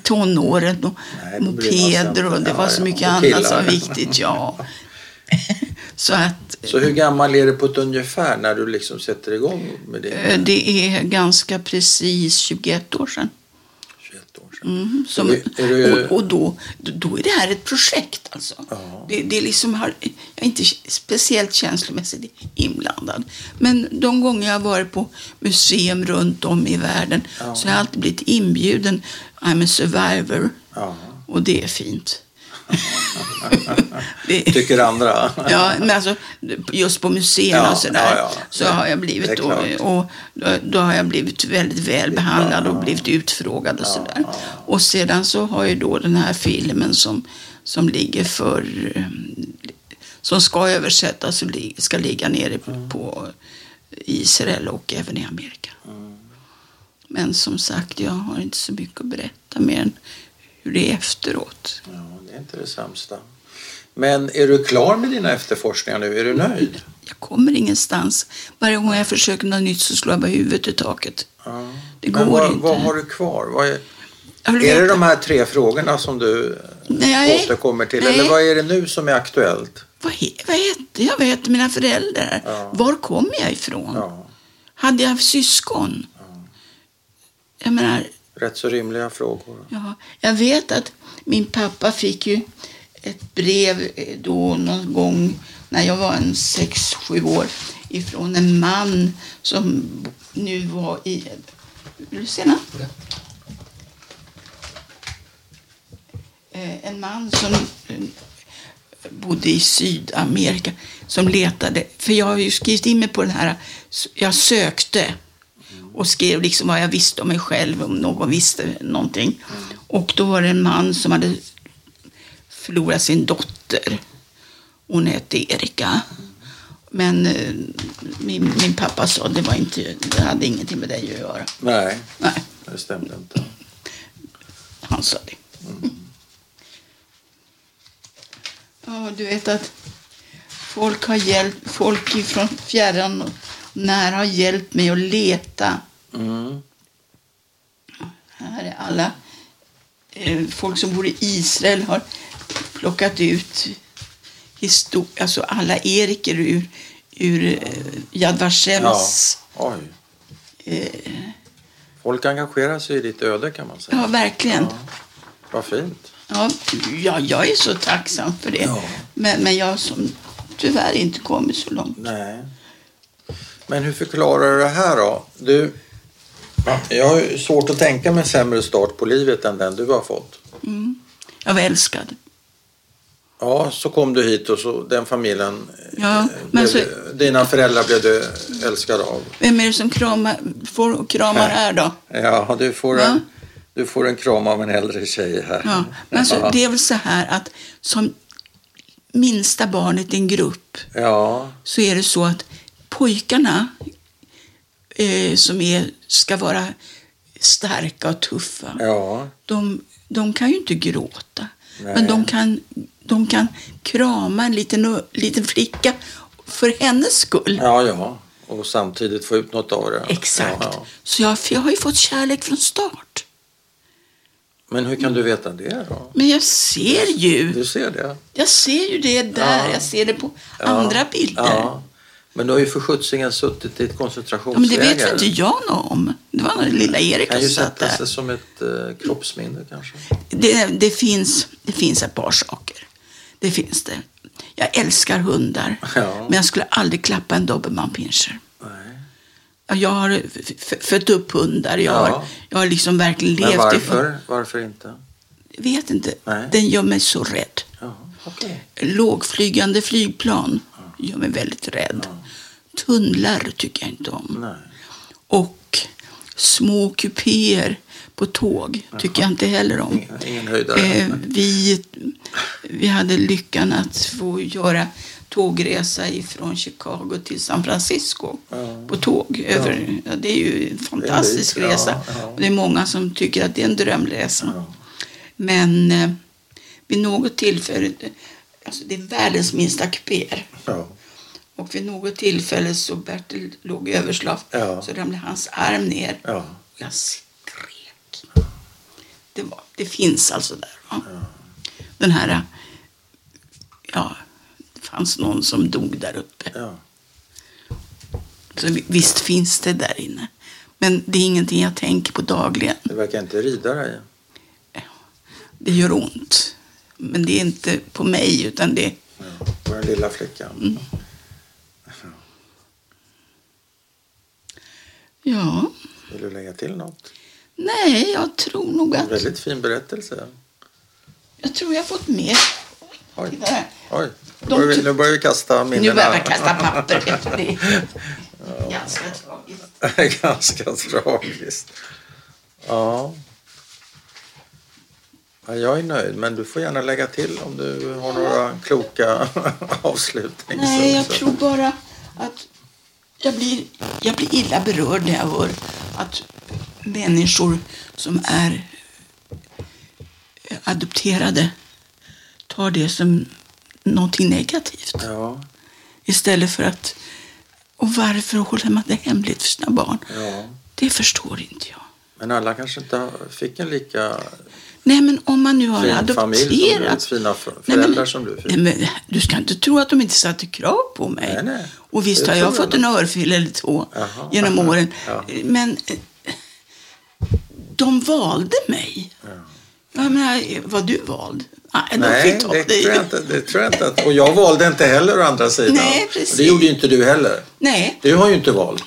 Speaker 1: tonåren och
Speaker 2: Nej, då blir man
Speaker 1: mopeder och
Speaker 2: sämre.
Speaker 1: det var
Speaker 2: Ja,
Speaker 1: så
Speaker 2: ja,
Speaker 1: mycket
Speaker 2: och killar.
Speaker 1: annat som var viktigt. Ja. Så att
Speaker 2: Så hur gammal är du på ett ungefär när du liksom sätter igång med det?
Speaker 1: eh, det är ganska precis 21 år sedan.
Speaker 2: 21 år sedan.
Speaker 1: Mm, som,
Speaker 2: Är- är du-
Speaker 1: och och då, då är det här ett projekt alltså.
Speaker 2: Ja.
Speaker 1: Det, det är liksom har, jag är inte speciellt känslomässigt inblandad. Men de gånger jag har varit på museum runt om i världen
Speaker 2: Ja.
Speaker 1: så har jag alltid blivit inbjuden. I'm a survivor.
Speaker 2: Ja.
Speaker 1: Och det är fint. det,
Speaker 2: Tycker andra?
Speaker 1: Ja, men alltså, just på museerna
Speaker 2: Ja,
Speaker 1: och sådär
Speaker 2: ja, ja.
Speaker 1: så
Speaker 2: Det-
Speaker 1: har jag
Speaker 2: det är
Speaker 1: blivit
Speaker 2: klart.
Speaker 1: och, och då, då har jag blivit väldigt väl behandlad och blivit utfrågad och sådär. Och sedan så har ju då den här filmen som, som ligger för eh, som ska översättas och li- ska ligga nere
Speaker 2: Mm.
Speaker 1: på, på Israel och även i Amerika.
Speaker 2: Mm.
Speaker 1: Men som sagt, jag har inte så mycket att berätta mer än hur det är efteråt.
Speaker 2: Ja, det är inte det sämsta. Men är du klar med dina efterforskningar nu? Är du nöjd?
Speaker 1: Jag kommer ingenstans. Varje gång jag försöker något nytt så slår jag bara huvudet i taket.
Speaker 2: Ja.
Speaker 1: Det
Speaker 2: Men
Speaker 1: går
Speaker 2: vad,
Speaker 1: inte.
Speaker 2: vad har du kvar? Vad är,
Speaker 1: Jag vill
Speaker 2: är det
Speaker 1: veta.
Speaker 2: de här tre frågorna som du
Speaker 1: Nej.
Speaker 2: återkommer till?
Speaker 1: Nej.
Speaker 2: Eller vad är det nu som är aktuellt?
Speaker 1: Vad, he- vad hette jag? Vad hette mina föräldrar?
Speaker 2: Ja.
Speaker 1: Var kom jag ifrån?
Speaker 2: Ja,
Speaker 1: Hade jag syskon? Jag menar,
Speaker 2: rätt så rimliga frågor.
Speaker 1: ja, jag vet att min pappa fick ju ett brev eh, då någon gång när jag var en sex sju år ifrån en man som nu var i... Vill du se den? eh, en man som eh, bodde i Sydamerika som letade. För jag har ju skrivit in mig på den här, s- jag sökte och skrev liksom vad jag visste om mig själv, om någon visste någonting. Och då var det en man som hade förlorat sin dotter. Hon hette Erika. Men eh, min, min pappa sa det var inte, det hade ingenting med dig att göra.
Speaker 2: Nej,
Speaker 1: Nej,
Speaker 2: det stämde inte.
Speaker 1: han sa det. Ja, du vet att folk har hjälpt, folk ifrån fjärran och när har hjälpt mig att leta.
Speaker 2: Mm.
Speaker 1: Här är alla eh, folk som bor i Israel har plockat ut histo- alltså alla eriker ur, ur eh, Yad
Speaker 2: Ja.
Speaker 1: Vashems.
Speaker 2: Oj.
Speaker 1: Eh,
Speaker 2: Folk engagerar sig i ditt öde kan man säga.
Speaker 1: ja, verkligen.
Speaker 2: Vad fint.
Speaker 1: Ja, ja, jag är så tacksam för det.
Speaker 2: Ja.
Speaker 1: Men, men jag som tyvärr inte kommit så långt.
Speaker 2: Nej. Men hur förklarar du det här då? Du, jag har ju svårt att tänka mig en sämre start på livet än den du har fått.
Speaker 1: Jag var älskad.
Speaker 2: Ja, så kom du hit och så den familjen,
Speaker 1: Ja,
Speaker 2: eh,
Speaker 1: men
Speaker 2: blev,
Speaker 1: så-
Speaker 2: dina föräldrar blev du älskad av.
Speaker 1: Vem är det som kramar, får, kramar här då?
Speaker 2: Ja, du får,
Speaker 1: Va?
Speaker 2: en, du får en kram av en äldre tjej här.
Speaker 1: Ja. Men alltså,
Speaker 2: ja.
Speaker 1: det är väl så här att som minsta barnet i en grupp
Speaker 2: ja,
Speaker 1: så är det så att pojkarna eh, som är, ska vara starka och tuffa,
Speaker 2: Ja,
Speaker 1: de, de kan ju inte gråta.
Speaker 2: Nej.
Speaker 1: Men de kan, de kan krama en liten, liten flicka för hennes skull.
Speaker 2: ja, ja. Och samtidigt få ut något av det.
Speaker 1: Exakt.
Speaker 2: Ja, ja.
Speaker 1: Så jag, för jag har ju fått kärlek från start.
Speaker 2: Men hur kan du veta det då?
Speaker 1: Men jag ser ju.
Speaker 2: Du ser det?
Speaker 1: Jag ser ju det där.
Speaker 2: Ja.
Speaker 1: Jag ser det på
Speaker 2: Ja.
Speaker 1: andra bilder. Ja.
Speaker 2: Ja. Men du har ju för sjuttsingen suttit i ett
Speaker 1: men det
Speaker 2: koncentrationsläger.
Speaker 1: vet ju inte jag något om. Det var när lilla Erik
Speaker 2: kan ju
Speaker 1: som satt
Speaker 2: sätta
Speaker 1: där.
Speaker 2: sig som ett eh, kroppsminne kanske.
Speaker 1: Det, det, finns, det finns ett par saker. Det finns det. Jag älskar hundar.
Speaker 2: Ja.
Speaker 1: Men jag skulle aldrig klappa en dobermannpinscher.
Speaker 2: Nej.
Speaker 1: Jag har f- f- fött upp hundar. Jag,
Speaker 2: Ja.
Speaker 1: har, jag har liksom verkligen
Speaker 2: Men
Speaker 1: levt i...
Speaker 2: varför? Varför inte?
Speaker 1: Jag vet inte.
Speaker 2: Nej.
Speaker 1: Den gör mig så rädd.
Speaker 2: Ja, okej.
Speaker 1: Lågflygande flygplan gör mig väldigt rädd. Tunnlar tycker jag inte om.
Speaker 2: Nej.
Speaker 1: Och små kupéer på tåg tycker jag inte heller om.
Speaker 2: Ingen, ingen höjdare.
Speaker 1: Eh, vi, vi hade lyckan att få göra tågresa ifrån Chicago till San Francisco
Speaker 2: Ja.
Speaker 1: på tåg. Över, ja. det är ju en fantastisk
Speaker 2: Det är en bit,
Speaker 1: resa.
Speaker 2: ja, ja.
Speaker 1: Och Det är många som tycker att det är en drömresa.
Speaker 2: Ja.
Speaker 1: Men eh, vid något tillfälle, alltså det är världens minsta kupéer.
Speaker 2: Ja.
Speaker 1: Och vid något tillfälle så Bertil låg överslav
Speaker 2: Ja.
Speaker 1: så ramlade hans arm ner.
Speaker 2: Ja.
Speaker 1: Jag skrek. Det, var, det finns alltså där. Va? Den här, ja, det fanns någon som dog där uppe.
Speaker 2: Ja.
Speaker 1: Så vi- visst finns det där inne. Men det är ingenting jag tänker på dagligen.
Speaker 2: Det verkar inte rida dig.
Speaker 1: Det gör ont. Men det är inte på mig utan det
Speaker 2: Ja. På den lilla flickan.
Speaker 1: Mm. ja,
Speaker 2: Vill du lägga till något?
Speaker 1: nej, jag tror nog
Speaker 2: En
Speaker 1: att,
Speaker 2: väldigt fin berättelse.
Speaker 1: jag tror jag har fått med.
Speaker 2: Oj.
Speaker 1: Titta här.
Speaker 2: Oj. Nu
Speaker 1: De
Speaker 2: börjar vi,
Speaker 1: ty-
Speaker 2: nu börjar vi kasta minnena.
Speaker 1: Nu börjar jag kasta papper efter det. Ganska tragiskt.
Speaker 2: Ganska tragiskt. Ja. ja. Jag är nöjd, men du får gärna lägga till om du har några kloka avslutningar.
Speaker 1: Nej, jag tror bara att jag blir, jag blir illa berörd när jag hör att människor som är adopterade tar det som någonting negativt.
Speaker 2: Ja,
Speaker 1: Istället för att... Och varför håller man det hemligt för sina barn?
Speaker 2: ja.
Speaker 1: Det förstår inte jag.
Speaker 2: Men alla kanske inte fick en lika
Speaker 1: Nej, men om man nu har
Speaker 2: fin familj som du,
Speaker 1: adopterat...
Speaker 2: fina f-
Speaker 1: Nej,
Speaker 2: föräldrar
Speaker 1: men-
Speaker 2: som du fick.
Speaker 1: Nej, men du ska inte tro att de inte satte krav på mig.
Speaker 2: Nej, nej.
Speaker 1: Och visst
Speaker 2: Det
Speaker 1: har
Speaker 2: tror
Speaker 1: jag
Speaker 2: jag
Speaker 1: fått en örfil eller två
Speaker 2: Jaha.
Speaker 1: genom åren.
Speaker 2: Ja.
Speaker 1: Men eh, de valde mig. Jag menar, var du vald? Nej, de
Speaker 2: Nej,
Speaker 1: fick ta
Speaker 2: det
Speaker 1: dig.
Speaker 2: tror, jag inte, det tror jag inte. Att, och jag valde inte heller å andra sidan.
Speaker 1: Nej,
Speaker 2: Och
Speaker 1: precis.
Speaker 2: Det gjorde ju inte du heller.
Speaker 1: Nej,
Speaker 2: Du har ju inte valt.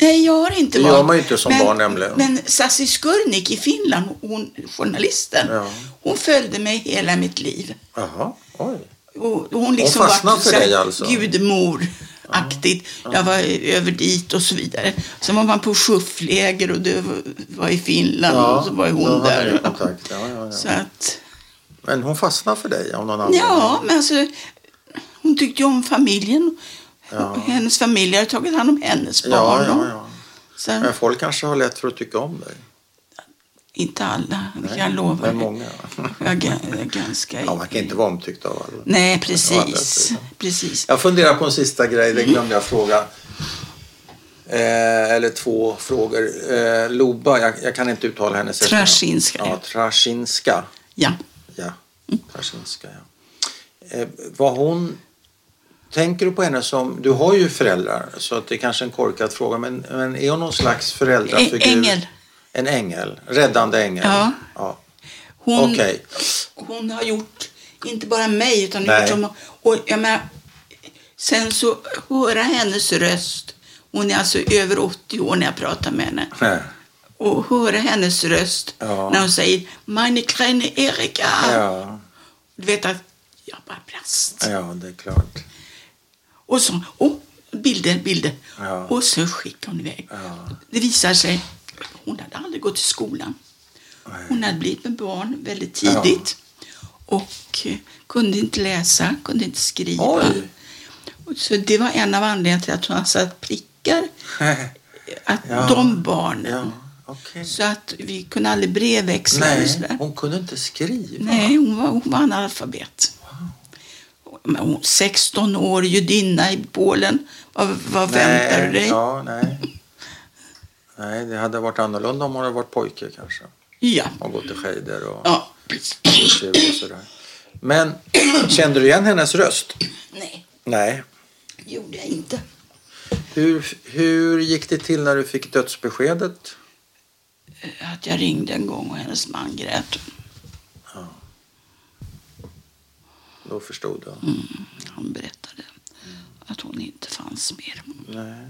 Speaker 1: nej, jag har inte
Speaker 2: Det
Speaker 1: valt.
Speaker 2: gör man ju inte som
Speaker 1: men,
Speaker 2: barn nämligen.
Speaker 1: Men Sassi Skurnik i Finland, hon, journalisten,
Speaker 2: Ja.
Speaker 1: hon följde mig hela mitt liv.
Speaker 2: Jaha, oj.
Speaker 1: Och och hon liksom
Speaker 2: Hon fastnade
Speaker 1: vart
Speaker 2: för
Speaker 1: så här
Speaker 2: dig alltså?
Speaker 1: Gudmor-aktigt. Jag var över dit och så vidare. Sen var man på schuffläger och det var i Finland och så var ju
Speaker 2: då
Speaker 1: hon
Speaker 2: hade ni
Speaker 1: där.
Speaker 2: kontakt. Ja, ja, ja.
Speaker 1: Så att,
Speaker 2: Men hon fastnade för dig av någon anledning?
Speaker 1: ja, men alltså, hon tyckte ju om familjen. Hennes familj hade tagit hand om hennes
Speaker 2: Ja,
Speaker 1: barn.
Speaker 2: ja, ja.
Speaker 1: Så,
Speaker 2: Men folk kanske har lätt för att tycka om dig.
Speaker 1: inte alla, kan jag
Speaker 2: Men
Speaker 1: lovar.
Speaker 2: många.
Speaker 1: Jag är ga- jag är ganska...
Speaker 2: Ja, man kan inte vara omtyckt av alla.
Speaker 1: Nej,
Speaker 2: Å andra
Speaker 1: precis.
Speaker 2: sidan.
Speaker 1: precis.
Speaker 2: Jag funderar på en sista grej, det glömde jag fråga. Eh, eller två frågor. Eh, Loba, jag, jag kan inte uttala hennes efternamn.
Speaker 1: Trashinska.
Speaker 2: Ja, Trashinska.
Speaker 1: Ja.
Speaker 2: Ja, Trashinska, ja. Eh, var hon... Tänker du på henne som... Du har ju föräldrar, så att det är kanske är en korkad fråga. Men, men är hon någon slags föräldrafigur?
Speaker 1: Ä- ängel.
Speaker 2: En ängel. Räddande ängel.
Speaker 1: Ja.
Speaker 2: ja.
Speaker 1: Hon,
Speaker 2: Okej.
Speaker 1: hon har gjort, inte bara mig, utan
Speaker 2: Nej.
Speaker 1: gjort som, och jag menar, sen så höra hennes röst. Hon är alltså över 80 år när jag pratar med henne.
Speaker 2: Nej.
Speaker 1: Och höra hennes röst
Speaker 2: Ja.
Speaker 1: när hon säger Meine kleine Erika.
Speaker 2: Ja,
Speaker 1: Du vet att jag bara brast.
Speaker 2: ja, det är klart.
Speaker 1: Och så, och bilder, bilder.
Speaker 2: Ja.
Speaker 1: Och så skickade hon iväg.
Speaker 2: Ja.
Speaker 1: Det visar sig, hon hade aldrig gått i skolan. Hon hade blivit med barn väldigt tidigt. Och eh, kunde inte läsa, kunde inte skriva.
Speaker 2: Oj.
Speaker 1: Och Så det var en av anledningarna till att hon satt prickar att
Speaker 2: Ja.
Speaker 1: de barnen.
Speaker 2: Ja, okej.
Speaker 1: Så att vi kunde aldrig brevväxla. eller
Speaker 2: Nej,
Speaker 1: sådär.
Speaker 2: hon kunde inte skriva.
Speaker 1: Nej, hon var, hon var analfabet. Men hon, 16 år, judinna i Polen. Vad, vad väntar du dig? Ja.
Speaker 2: Ja, nej. nej, det hade varit annorlunda om hon hade varit pojke kanske.
Speaker 1: Ja.
Speaker 2: Och gått i skejder och tjuv och sådär. Men kände du igen hennes röst?
Speaker 1: Nej,
Speaker 2: Nej.
Speaker 1: det gjorde jag inte.
Speaker 2: Hur, hur gick det till när du fick dödsbeskedet?
Speaker 1: Att jag ringde en gång och hennes man grät.
Speaker 2: Då förstod du.
Speaker 1: Mm. Han berättade att hon inte fanns mer.
Speaker 2: Nej.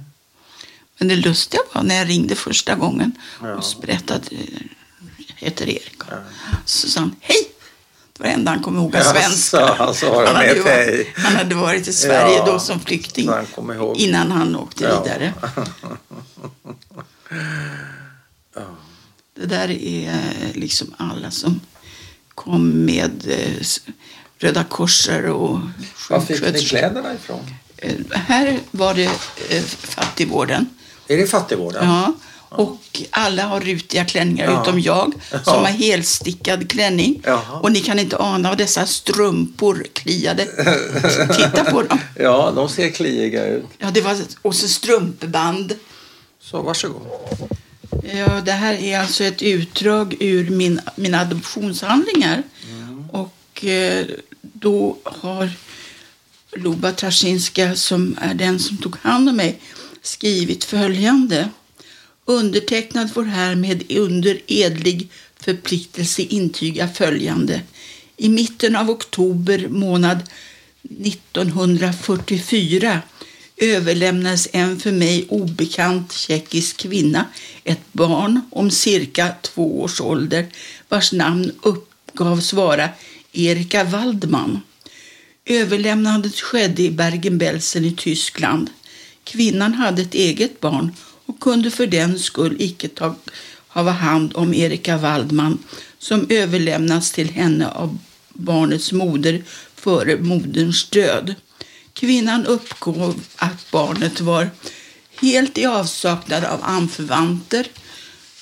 Speaker 1: Men det lustiga var när jag ringde första gången
Speaker 2: Ja.
Speaker 1: och så berättade, jag heter Erik.
Speaker 2: Ja.
Speaker 1: Så sa han hej. Det var det enda han kom ihåg av
Speaker 2: Jaså,
Speaker 1: svenskar.
Speaker 2: han sa det med
Speaker 1: hade
Speaker 2: ett
Speaker 1: varit,
Speaker 2: hej.
Speaker 1: han hade varit i Sverige
Speaker 2: Ja,
Speaker 1: då som flykting
Speaker 2: så han kom ihåg.
Speaker 1: innan han åkte
Speaker 2: Ja.
Speaker 1: vidare. Det där är eh, liksom alla som kom med eh, s- Röda korsare och
Speaker 2: Var fick ni
Speaker 1: sjuksköterskor.
Speaker 2: kläderna ifrån?
Speaker 1: Eh, Här var det eh, fattigvården.
Speaker 2: Är det fattigvården?
Speaker 1: Ja. Och alla har rutiga klänningar
Speaker 2: Ja.
Speaker 1: utom jag
Speaker 2: Ja.
Speaker 1: som har helstickad klänning.
Speaker 2: Jaha.
Speaker 1: Och ni kan inte ana vad dessa strumpor kliade. Titta på dem.
Speaker 2: Ja, de ser kliiga ut.
Speaker 1: Ja, det var, och så strumpband.
Speaker 2: Så varsågod.
Speaker 1: Ja, det här är alltså ett utdrag ur min, mina adoptionshandlingar.
Speaker 2: Mm.
Speaker 1: Och eh, då har Luba Trasinska, som är den som tog hand om mig, skrivit följande. Undertecknad får härmed under edlig förpliktelse intyga följande. I mitten av oktober månad 1944 överlämnades en för mig obekant tjeckisk kvinna ett barn om cirka två års ålder vars namn uppgavs vara Erika Waldman. Överlämnandet skedde i Bergen-Belsen i Tyskland. Kvinnan hade ett eget barn och kunde för den skull icke ta, hava hand om Erika Waldman som överlämnats till henne av barnets moder före moderns död. Kvinnan uppgav att barnet var helt i avsaknad av anförvanter.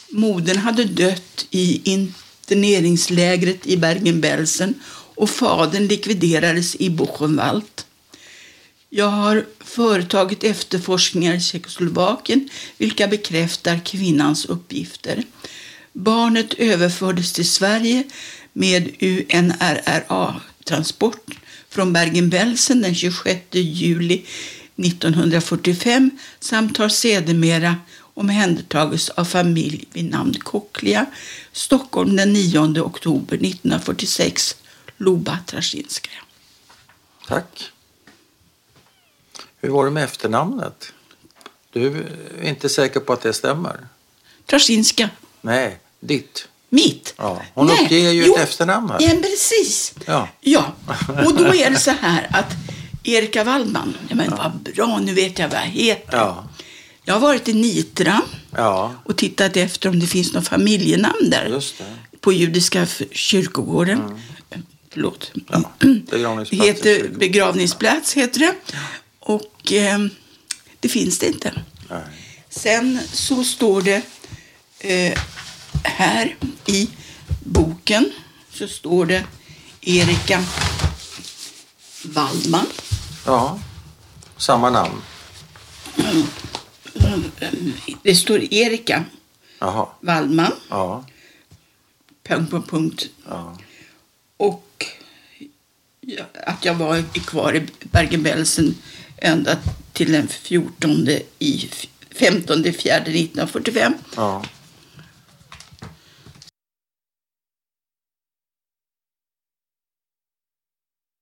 Speaker 1: Modern hade dött i interneringslägret i Bergen-Belsen och fadern likviderades i Buchenwald. Jag har företagit efterforskningar i Tjeckoslovakien vilka bekräftar kvinnans uppgifter. Barnet överfördes till Sverige med UNRRA-transport från Bergen-Belsen den 26 juli 1945 samt har sedermera omhändertagits av familj vid namn Kocklia, Stockholm den 9 oktober 1946, Luba Trasinskaja.
Speaker 2: Tack. Hur var det med efternamnet? Du är inte säker på att det stämmer?
Speaker 1: Trasinska.
Speaker 2: Nej, ditt.
Speaker 1: Mitt?
Speaker 2: Ja, hon uppger ju ett efternamn här.
Speaker 1: Ja, precis.
Speaker 2: Ja.
Speaker 1: ja, och då är det så här att Erika Waldman, ja, men vad bra, nu vet jag vad jag heter.
Speaker 2: Ja.
Speaker 1: Jag har varit i Nitra
Speaker 2: Ja,
Speaker 1: och tittat efter om det finns något familjenamn där.
Speaker 2: Just det. Mm.
Speaker 1: På judiska f- kyrkogården. Förlåt.
Speaker 2: Ja, begravningsplats i
Speaker 1: heter,
Speaker 2: kyrkogården.
Speaker 1: begravningsplats heter det. Och eh, det finns det inte.
Speaker 2: nej.
Speaker 1: Sen så står det eh, här i boken så står det Erika Waldman.
Speaker 2: ja. Samma namn.
Speaker 1: Det står Erika
Speaker 2: Jaha.
Speaker 1: Waldman.
Speaker 2: Ja.
Speaker 1: Punkt, punkt, punkt.
Speaker 2: ja.
Speaker 1: Och ja, att jag var kvar i Bergen-Belsen ända till den 14 i 15 fjärde 1945.
Speaker 2: Ja.